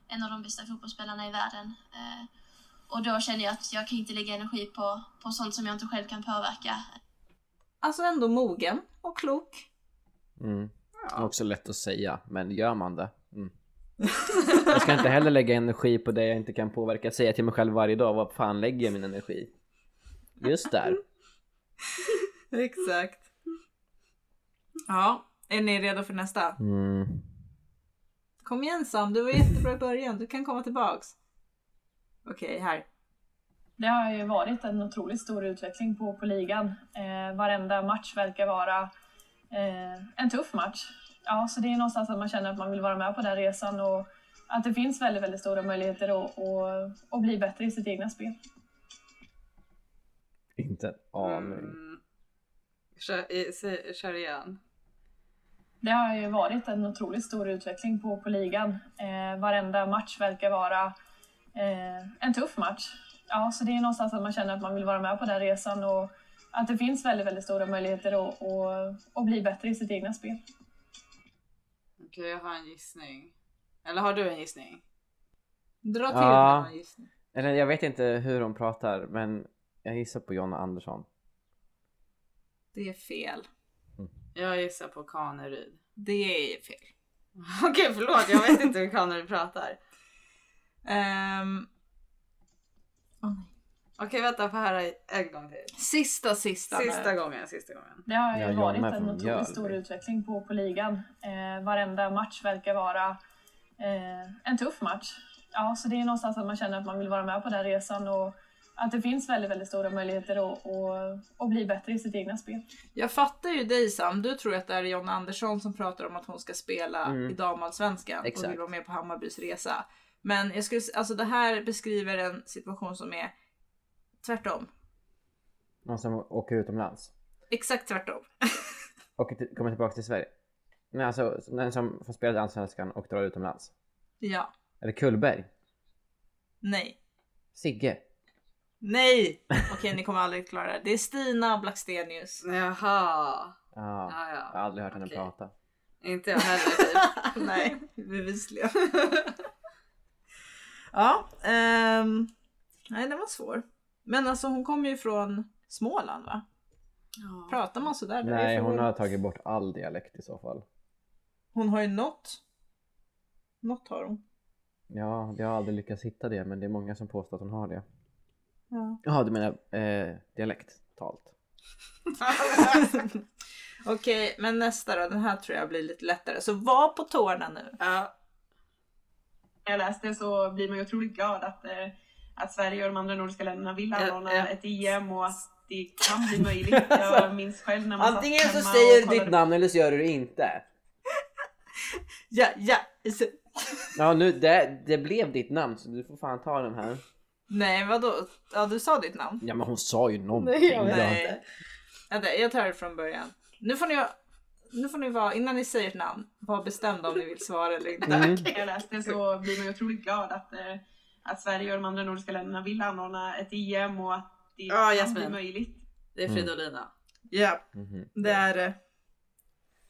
en av de bästa fotbollsspelarna i världen. Eh, och då känner jag att jag kan inte lägga energi på, på sånt som jag inte själv kan påverka.
Alltså ändå mogen och klok.
Mm. Det är också lätt att säga, men gör man det?
(laughs)
Mm. Jag ska inte heller lägga energi på det jag inte kan påverka. Säga till mig själv varje dag, vad fan lägger jag min energi? Just där.
Exakt. Ja, är ni redo för nästa?
Mm.
Kom igen Sam, du var jättebra i början. Du kan komma tillbaks. Okej, här.
Det har ju varit en otroligt stor utveckling på, på ligan. Eh, varenda match verkar vara eh, en tuff match. Ja, så det är någonstans att man känner att man vill vara med på den resan och att det finns väldigt, väldigt stora möjligheter att, att, att bli bättre i sitt egna spel.
Inte en aning.
Mm.
Mm. Kör, i- se- kör igen.
Det har ju varit en otroligt stor utveckling på, på ligan. Eh, varenda match verkar vara eh, en tuff match. Ja, så det är någonstans att man känner att man vill vara med på den resan och att det finns väldigt, väldigt stora möjligheter att, att, att bli bättre i sitt egna spel.
Okej, jag har en gissning. Eller har du en gissning?
Dra till
Ja.
med någon gissning.
Eller jag vet inte hur hon pratar, men jag gissar på Jonna Andersson.
Det är fel.
Jag gissar på Kaneryd. (laughs)
Det är fel.
Okej, förlåt. Jag vet inte hur Kaneryd pratar.
Ehm,
Okej, vänta. Får höra en gång till.
sista, sista. nu.
Sista gången, sista gången.
Det har ju
Ja, jag
varit
med, för
en
de gör
otroligt stor
det.
utveckling på, på ligan. Eh, varenda match verkar vara eh, en tuff match. Ja, så det är någonstans att man känner att man vill vara med på den resan och att det finns väldigt, väldigt stora möjligheter att, att, att bli bättre i sitt egna spel.
Jag fattar ju dig Sam, du tror att det är Jonna Andersson som pratar om att hon ska spela
Mm.
i damallsvenskan och
Exakt.
vill vara med på Hammarbys resa. Men jag skulle, s- alltså det här beskriver en situation som är tvärtom.
Någon som åker utomlands.
Exakt tvärtom.
Och till- kommer tillbaka till Sverige. Nej, alltså den som får spela i Allsvenskan och drar utomlands.
ja.
Eller Kullberg.
Nej.
Sigge.
Nej! Okej, ni kommer aldrig klara det. Det är Stina Blackstenius.
Jaha.
Ja,
Ja, ja.
jag har aldrig hört henne
Okej.
prata.
Inte jag heller typ.
(laughs) Nej, bevisligen. (laughs) ja, ehm, nej den var svår. Men alltså hon kommer ju från Småland va? Pratar man sådär? där? Det är
Nej,
från-
hon har tagit bort all dialekt i så fall.
Hon har ju något. Något har hon.
Ja, jag har aldrig lyckats hitta det, men det är många som påstår att hon har det.
(laughs) Ja.
Jaha, du menar eh, dialekt? Talt.
Okej, men nästa då. Den här tror jag blir lite lättare. Så var på tårna nu.
Ja.
När jag läste så blir man ju otroligt glad att, eh, att Sverige och de andra nordiska länderna vill anordna
Ja, ja.
ett EM och att det kan
(laughs)
bli möjligt.
Alltså,
Jag minns själv när man satt
Antingen så
hemma och
säger du
kollade
ditt namn eller så gör du det inte.
Ja, ja. Så-
Ja, nu, det, det blev ditt namn så du får fan ta den här.
Nej, vadå? Ja, du sa ditt namn.
Ja, men hon sa ju någonting. Ja.
Nej. Vänta, jag tar det från början. Nu får ni, nu får ni vara, innan ni säger ett namn, var bestämda om ni vill svara eller inte.
Mm.
när jag läste så blir man ju otroligt glad att, eh, att Sverige och de andra nordiska länderna vill anordna ett EM och att det
Ja,
kan bli
Jasmin.
möjligt.
Det är Fridolina.
Ja,
Mhm.
det är det.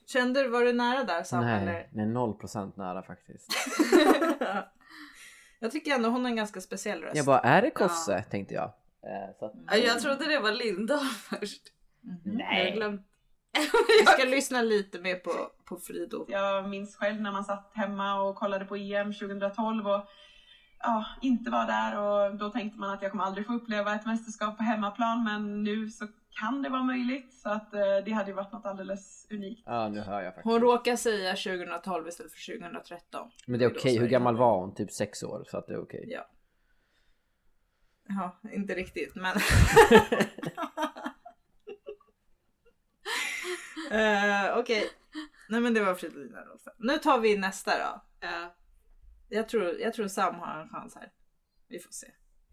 Kände du, var du nära där Sam?
Nej,
eller?
nej, noll procent nära faktiskt.
jag tycker ändå hon har en ganska speciell röst.
Jag
(laughs)
bara, är det Kosse? Tänkte jag. Eh, så att,
Ja, Jag trodde det var Linda först. Jag har
nej.
glömt.
Vi ska lyssna lite mer på, på Frido.
Jag minns själv när man satt hemma och kollade på EM 2012 och ja, inte var där och då tänkte man att jag kommer aldrig få uppleva ett mästerskap på hemmaplan men nu så kan det vara möjligt så att eh, det hade ju varit något alldeles unikt.
Ja, nu hör jag faktiskt.
Hon råkar säga 2012 istället för 2013.
Men det är okej, hur
Sverige.
gammal var hon? Typ sex år, så att det är okej.
Ja. Ja, inte
(laughs)
riktigt men. (laughs) uh, Okej, nej men det var Fridolina Rolfsson. Nu tar vi nästa då.
Ja.
Jag tror, jag tror Sam har en chans här. Vi får se.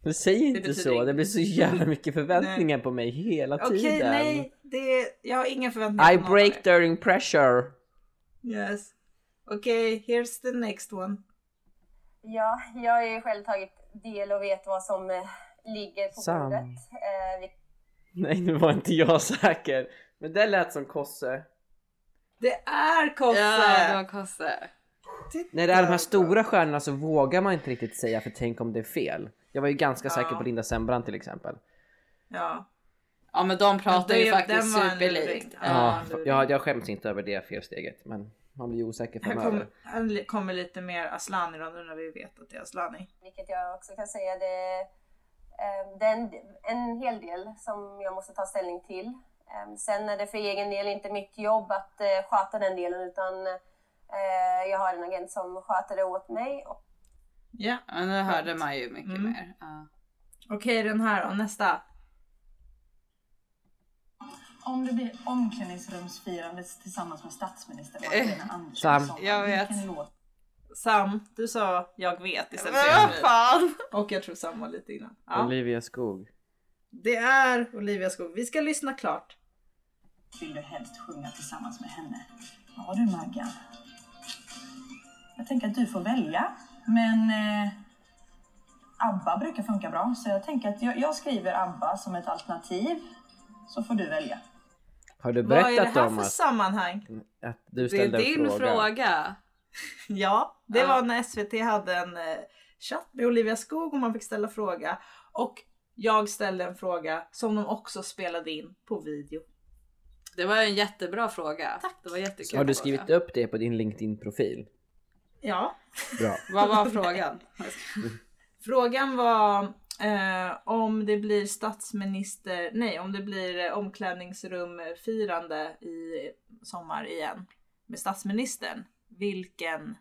Men säg inte
betyder
så,
inget.
det blir så
(laughs)
jävla mycket förväntningar på mig hela
Okej,
tiden.
nej. Det är, jag har inga förväntningar
I
på någon av er.
break during pressure.
Yes. Okej, here's the next one.
Ja, jag har ju själv tagit del och vet vad som eh, ligger på
Sam.
bordet. Eh, vi-
Nej, nu var inte jag säker. Men det lät som Kosse.
Det är Kosse!
Ja, det var Kosse.
När det är de här stora stjärnorna så vågar man inte riktigt säga för tänk om det är fel. Jag var ju ganska säker på Linda Sembrant till exempel.
Ja.
Ja men de pratar
Ja,
ju
det- den
faktiskt
var en
superlikt.
luring.
Ja,
Ja.
jag, jag skäms inte över det felsteget men man blir ju osäker
Han
framöver.
kommer han li- kommer lite mer Aslani då nu när vi vet att det är Aslani.
Vilket jag också kan säga, det, eh, det är en, en hel del som jag måste ta ställning till. Eh, Sen är det för egen del inte mitt jobb att eh, sköta den delen utan eh, jag har en agent som sköter det åt mig. Och
Ja.
Ja, nu hörde man ju mycket
Mm.
mer. Ja.
Okej den här då, nästa.
Om det blir omklädningsrumsfirande tillsammans med statsminister Magdalena Andersson
Sam.
i sommar,
Eh, Jag vet.
vilken låt
Sam, du sa jag vet istället
Men vad
jag vet.
fan!
Och jag tror samma lite innan. Ja.
Olivia Skog.
Det är Olivia Skog. Vi ska lyssna klart.
vill du helst sjunga tillsammans med henne? Ja du Maggan. Jag tänker att du får välja. Men eh, ABBA brukar funka bra. Så jag tänker att jag, jag skriver ABBA som ett alternativ. Så får du välja.
Har du
Vad är det
berättat
här
om
för
att,
sammanhang?
att du
Det är
ställde
din
en fråga?
fråga.
Ja, det
Ja.
var när SVT hade en eh, chatt med Olivia Skog och man fick ställa fråga. Och jag ställde en fråga som de också spelade in på video.
Det var en jättebra fråga. Tack. Det var jättekul.
Har du
fråga.
skrivit upp det på din LinkedIn-profil?
Ja.
Bra.
Vad var frågan?
Frågan var eh, om det blir statsminister, nej om det blir eh, omklädningsrumfirande i sommar igen med statsministern. Vilken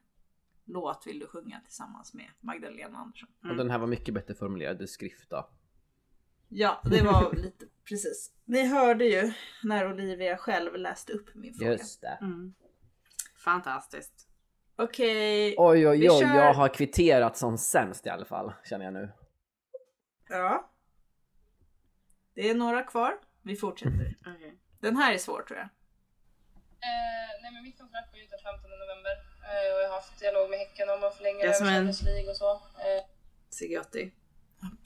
låt vill du sjunga tillsammans med Magdalena Andersson?
Och den här var mycket bättre formulerad i skrift då.
Ja, det var lite precis. Ni hörde ju när Olivia själv läste upp min fråga.
Just det.
Mm.
Fantastiskt.
Okej,
Oj oj
vi
oj,
kör-
jag har kvitterat som sämst i alla fall känner jag nu.
Ja. Det är några kvar. Vi fortsätter. Den här är svår tror jag.
Eh, nej men mitt kontrakt går ut den 15 november eh, och jag har haft dialog med Häcken om att förlänga det
Jag som
med
en-
Champions League och så. Eh,
Sigiotti.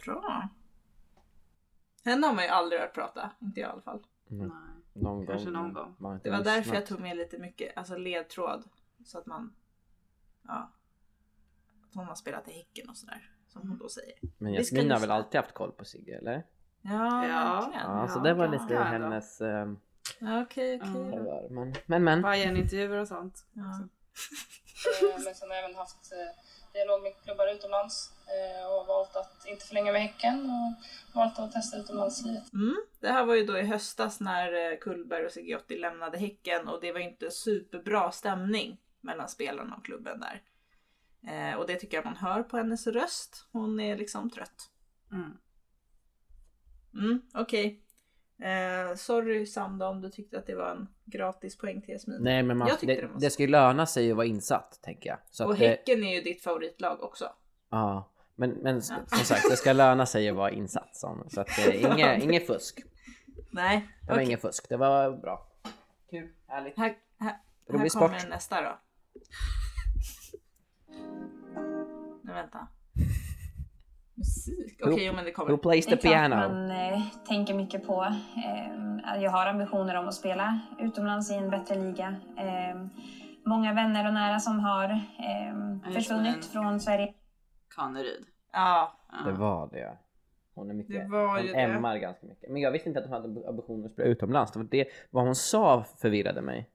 Bra. Henne har man ju aldrig hört prata. Inte jag i alla fall.
Någon
Kanske
gång.
någon gång.
Man har inte
Det var
lyssnat.
därför jag tog med lite mycket alltså ledtråd. Så att man... Ja. Att hon har spelat i Häcken och sådär. Som hon då säger.
Men
Vi ska
Jasmin har väl
lyssna.
alltid haft koll på Sigge eller?
Ja,
Ja.
verkligen.
Ja, så det var
bra.
lite hennes ehm,
Ja, Okej, okej. då.
favör. Men men. men.
Bayern-intervjuer och sånt.
Ja.
Eh, men sen har jag även haft eh, dialog med klubbar utomlands eh, och valt att inte förlänga med Häcken och valt att testa utomlandslivet.
Mm. Det här var ju då i höstas när eh, Kullberg och Sigiotti lämnade Häcken och det var inte superbra stämning mellan spelarna och klubben där. Eh, och det tycker jag man hör på hennes röst. Hon är liksom trött.
Mm.
Mm, Okej. Eh, sorry Sanda om du tyckte att det var en gratis poäng till Jasmin.
Nej men man,
jag tyckte
det,
det, var
det ska ju löna sig att vara insatt tänker jag. Så
Och
att det-
Häcken är ju ditt favoritlag också.
Ja. Men, men s- som sagt det ska löna sig att vara insatt. som- Så att det
(laughs)
är inge, inget fusk.
Nej,
Det var inget fusk. Det var bra. Kul, härligt.
Här, här,
Det
här
blir
kommer
sport.
nästa då. Nu vänta. Musik? Okej, jo men det kommer.
Who plays the
Det är klart
piano?
man eh, tänker mycket på. Eh, jag har ambitioner om att spela utomlands i en bättre liga. Eh, många vänner och nära som har eh,
som en-
försvunnit från Sverige.
Kaneryd.
Ja.
Det var det. Hon är mycket,
Det var
hon
ju
(laughs)
det.
ämmar ganska mycket. Men jag visste inte att hon hade ambitioner att spela utomlands. Det var det, vad hon sa förvirrade mig.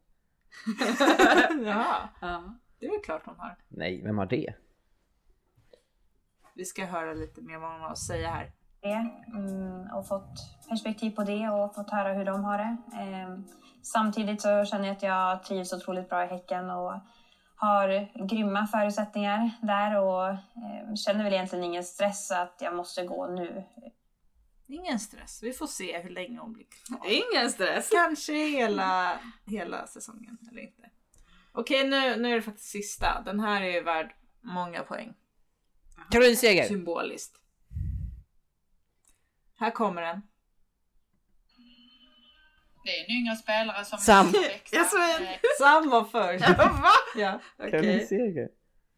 Jaha.
Ja.
Det är väl klart hon har.
Nej, vem har det?
Vi ska höra lite mer vad hon har att säga här.
Mm, och fått perspektiv på det och fått höra hur de har det. Eh, samtidigt så känner jag att jag trivs otroligt bra i Häcken och har grymma förutsättningar där och eh, känner väl egentligen ingen stress att jag måste gå nu.
Ingen stress. Vi får se hur länge hon blir kvar.
Ingen stress.
Kanske hela, hela säsongen eller inte. Okej, nu, nu är det faktiskt sista. Den här är ju värd många poäng.
Caroline Seger!
Symboliskt. Här kommer den.
Det är en yngre spelare som...
Sam.
(laughs) Jasmin! Sam var
(laughs)
först.
Va?
Ja.
Caroline Seger.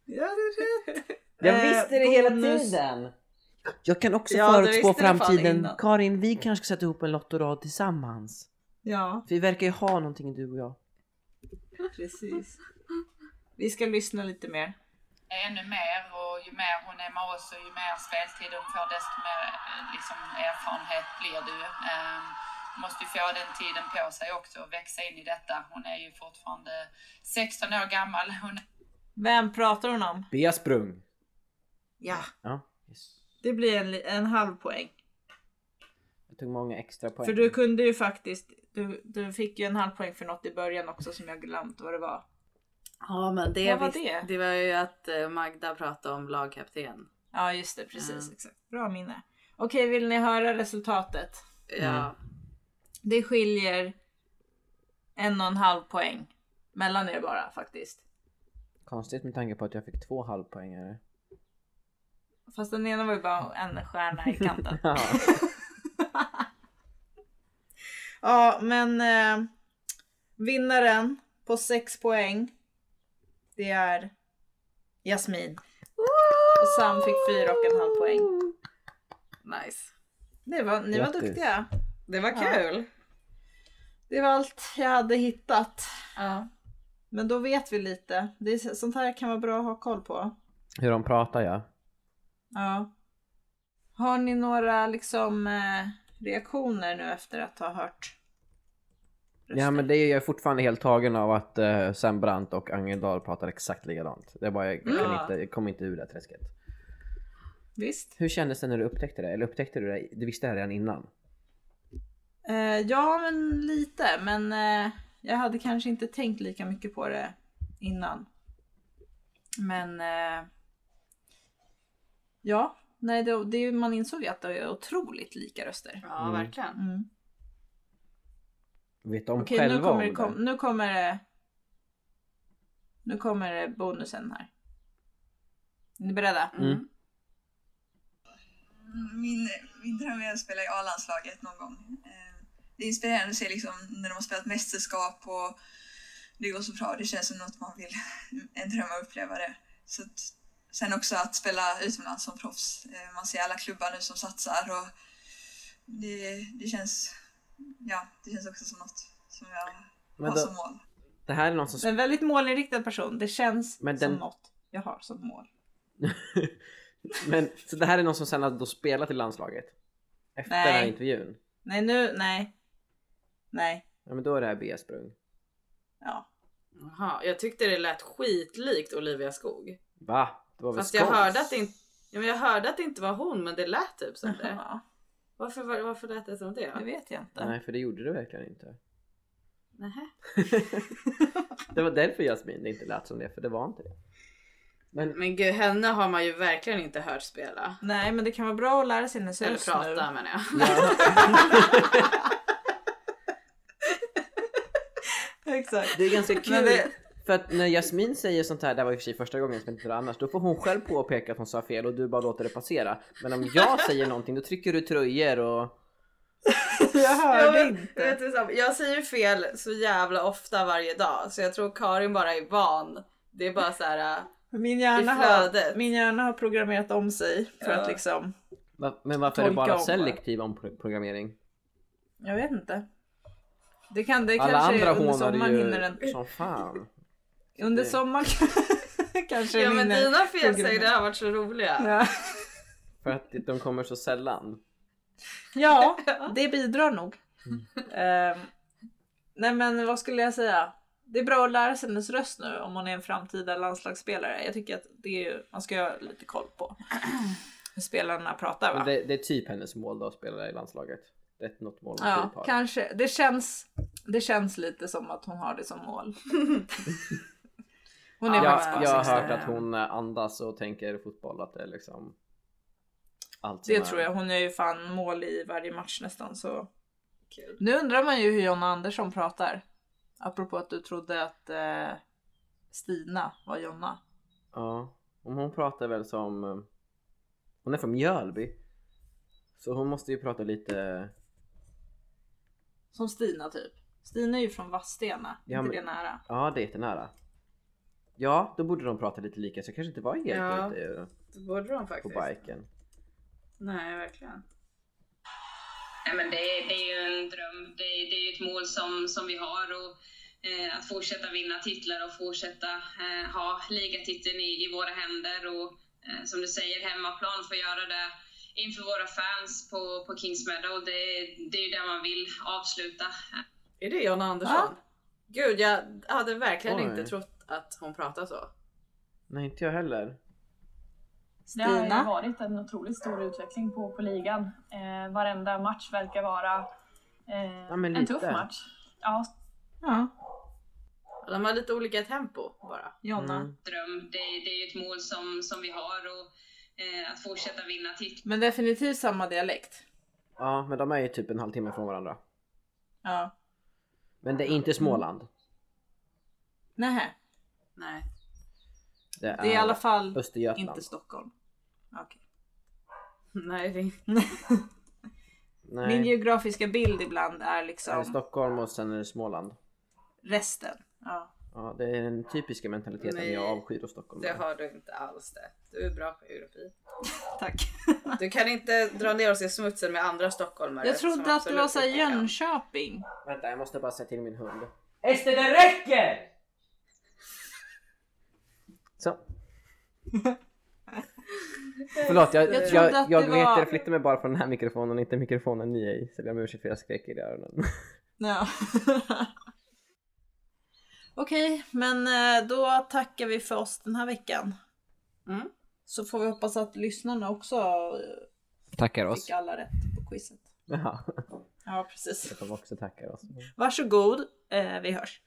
Ja, det är rätt.
Jag
Eh,
visste det hela
bonus.
tiden! Jag kan också
Ja, det
förutspå
visste du fan
framtiden.
innan.
Karin, vi kanske ska sätta ihop en lottorad tillsammans.
Ja.
För vi verkar ju ha någonting du och jag.
Precis. Vi ska lyssna lite mer.
ännu mer och ju mer hon är med oss och ju mer speltid hon får desto mer eh, liksom, erfarenhet blir det ju. Ehm, Hon måste ju få den tiden på sig också och växa in i detta. Hon är ju fortfarande 16 år gammal. Hon
Vem pratar hon om?
Bea sprung.
Ja,
Ja.
det blir en, li- en halv poäng.
Jag tog många extra poäng.
För du kunde ju faktiskt, du, du fick ju en halv poäng för något i början också som jag glömt vad det var.
Ja men det,
Vad var
visst-
det?
det var ju att eh, Magda pratade om lagkapten.
Ja just det, precis.
Ja.
Exakt. Bra minne. Okej, vill ni höra resultatet?
Ja. Mm.
Det skiljer en och en halv poäng mellan er bara faktiskt.
Konstigt med tanke på att jag fick två halvpoängare. (laughs)
Fast den ena var ju bara en stjärna i kanten.
Ja.
Ja, men eh, vinnaren på 6 poäng, det är Jasmin. Och Sam fick 4 och en halv poäng. Nice. Det var, ni var
Grattis.
duktiga.
Det var
Ja.
kul.
Det var allt jag hade hittat. Men då vet vi lite. Det är, sånt här kan vara bra att ha koll på.
Hur de pratar ja.
Ja. Har ni några liksom eh, reaktioner nu efter att ha hört?
Ja men det är, jag är fortfarande helt tagen av att uh, Sam Brandt och Angeldal pratar exakt likadant. Det är bara, jag, kan
Ja.
inte, jag kommer inte ur det här träsket.
Visst.
Hur kändes det när du upptäckte det? Eller upptäckte du det? Du visste det här redan innan?
Eh, ja men lite men eh, jag hade kanske inte tänkt lika mycket på det innan. Men eh, ja, nej det, det, man insåg ju att det är otroligt lika röster.
Ja
Mm.
verkligen.
Mm.
Vet de
Okej nu
själva
kommer, det,
om
kom, nu kommer det. Nu kommer det bonusen här. Är ni beredda?
det? Mm.
min, min dröm är att spela i A-landslaget någon gång. Eh, Det är inspirerande att se liksom när de har spelat mästerskap och det går så bra. Det känns som något man vill, en dröm att uppleva det. Så att, sen också att spela utomlands som proffs. Eh, Man ser alla klubbar nu som satsar och det, det känns, ja, det känns också som något som jag
Men
har
då-
som mål.
Det här är någon som...
En väldigt målinriktad person. Det känns
Men
som
den-
något jag har som mål.
(laughs) Men, så det här är någon som sen har då spelat i landslaget? Efter
Nej.
den här intervjun?
Nej nu, nej. Nej.
Ja men då är det här Bea Sprung.
Ja.
Jaha, jag tyckte det lät skitlikt Olivia Skog.
Va? Det var väl
Fast jag
skåns?
hörde, att det inte, ja, men jag hörde att det inte var hon men det lät typ som
(laughs)
det. Varför, var, varför lät det som det?
Det vet jag inte.
Nej för det gjorde det verkligen inte.
Nähä.
(laughs) Det var därför Jasmin inte lät som det, för det var inte det. Men,
Men gud, henne har man ju verkligen inte hört spela.
Nej men det kan vara bra att lära sig hennes
Eller
röst nu. (laughs)
prata menar jag.
Exakt.
Det är ganska kul.
Men det-
För att när Jasmin säger sånt här, det här var i och för sig första gången som jag inte gjorde det annars, då får hon själv påpeka att hon sa fel och du bara låter det passera. Men om
(laughs)
jag säger någonting då trycker du tröjor och...
Jag
(laughs) Ja, men, Vet du, Sam, jag säger fel så jävla ofta varje dag så jag tror Karin bara är van. Det är bara så här. äh,
Min
I
hjärna,
flödet.
har, min hjärna har programmerat om sig för
Ja.
att liksom,
Va- Men varför är det
Tolka
bara
om, va?
selektiv omprogrammering?
jag vet inte. Det kan, det
Alla
kanske
andra
under
hånar
sommaren hinner den.
ju som fan.
Under sommaren (laughs) kanske
Ja
den
men
hinner
dina felsägningar
programmera.
har varit så roliga.
Ja.
För att de kommer så sällan.
Ja, det bidrar nog. Ehm, nej men vad skulle jag säga? Det är bra att lära sig hennes röst nu om hon är en framtida landslagsspelare. Jag tycker att det är ju, man ska ha lite koll på hur spelarna pratar va?
Men det, det är typ hennes mål då att spela i landslaget. Det är något mål hon
ja,
typ har.
kanske. Det känns, det känns lite som att hon har det som
(laughs)
mål. hon är faktiskt
jag,
bara
jag har
16.
hört att hon andas och tänker fotboll att det är liksom allt som
Det
är-
tror jag. Hon är ju fan mål i varje match nästan så. Nu undrar man ju hur Jonna Andersson pratar. Apropå att du trodde att eh, Stina var Jonna.
Ja, om hon pratar väl som... eh, Hon är från Mjölby. Så hon måste ju prata lite...
Som Stina typ. Stina är ju från Vadstena.
Ja,
inte
men-
det nära.
Ja, det är jättenära. Ja, då borde de prata lite lika så jag kanske inte var helt
Ja,
ute eh,
Det borde
på
de faktiskt.
biken.
Nej verkligen.
Nej, men det, är- det är ju en dröm. Det, är- det är ju ett mål som, som vi har. Och eh, att fortsätta vinna titlar och fortsätta eh, ha ligatiteln i, i våra händer och eh, som du säger hemmaplan få göra det inför våra fans på, på Kings Meadow. Det, det är ju där man vill avsluta.
Är det Jonna Andersson?
Ja.
Gud, jag hade verkligen
Oj.
inte trott att hon pratade så.
Nej, inte jag heller.
Det har ju
Stina?
varit en otroligt stor utveckling på, på ligan. Eh, varenda match verkar vara eh,
Ja, men
en
lite.
tuff match. Ja.
De har lite olika tempo bara.
Jonna.
Mm.
Dröm, det, det är ju ett mål som, som vi har och eh, att fortsätta vinna titlar
Men definitivt samma dialekt.
Ja, men de är ju typ en halvtimme från varandra.
Ja.
Men det är inte Småland.
Nej. Nej.
Det är,
Det är i alla fall
Östergötland.
inte Stockholm. Okej.
(laughs) Nej, det är inte.
Nej,
(laughs) Min geografiska bild ibland är
det är
liksom
Stockholm och sen är det Småland.
resten. Ja.
Ja, det är den typiska mentaliteten
Nej,
jag avskyr hos Stockholm.
Det har du inte alls det. Du är bra på geografi. Tack. Du kan inte dra ner oss i smutsen med andra stockholmare.
Jag
som
trodde att det
absolut
var såhär
inte kan.
Jönköping.
Vänta, jag måste bara säga till min hund.
Ester det räcker!
Så. Förlåt, jag,
Jag
jag,
trodde
jag,
att
jag,
det
vet,
var-
jag flyttar mig bara från den här mikrofonen, inte mikrofonen ni är i. Så jag ber om ursäkt för att jag skrek i öronen.
Ja. (laughs) Okej, men eh, då tackar vi för oss den här veckan.
Mm.
Så får vi hoppas att lyssnarna också eh,
Tackar oss.
fick alla rätt på quizet.
Jaha,
Ja, precis.
att de också tackar oss.
Varsågod, eh, vi hörs.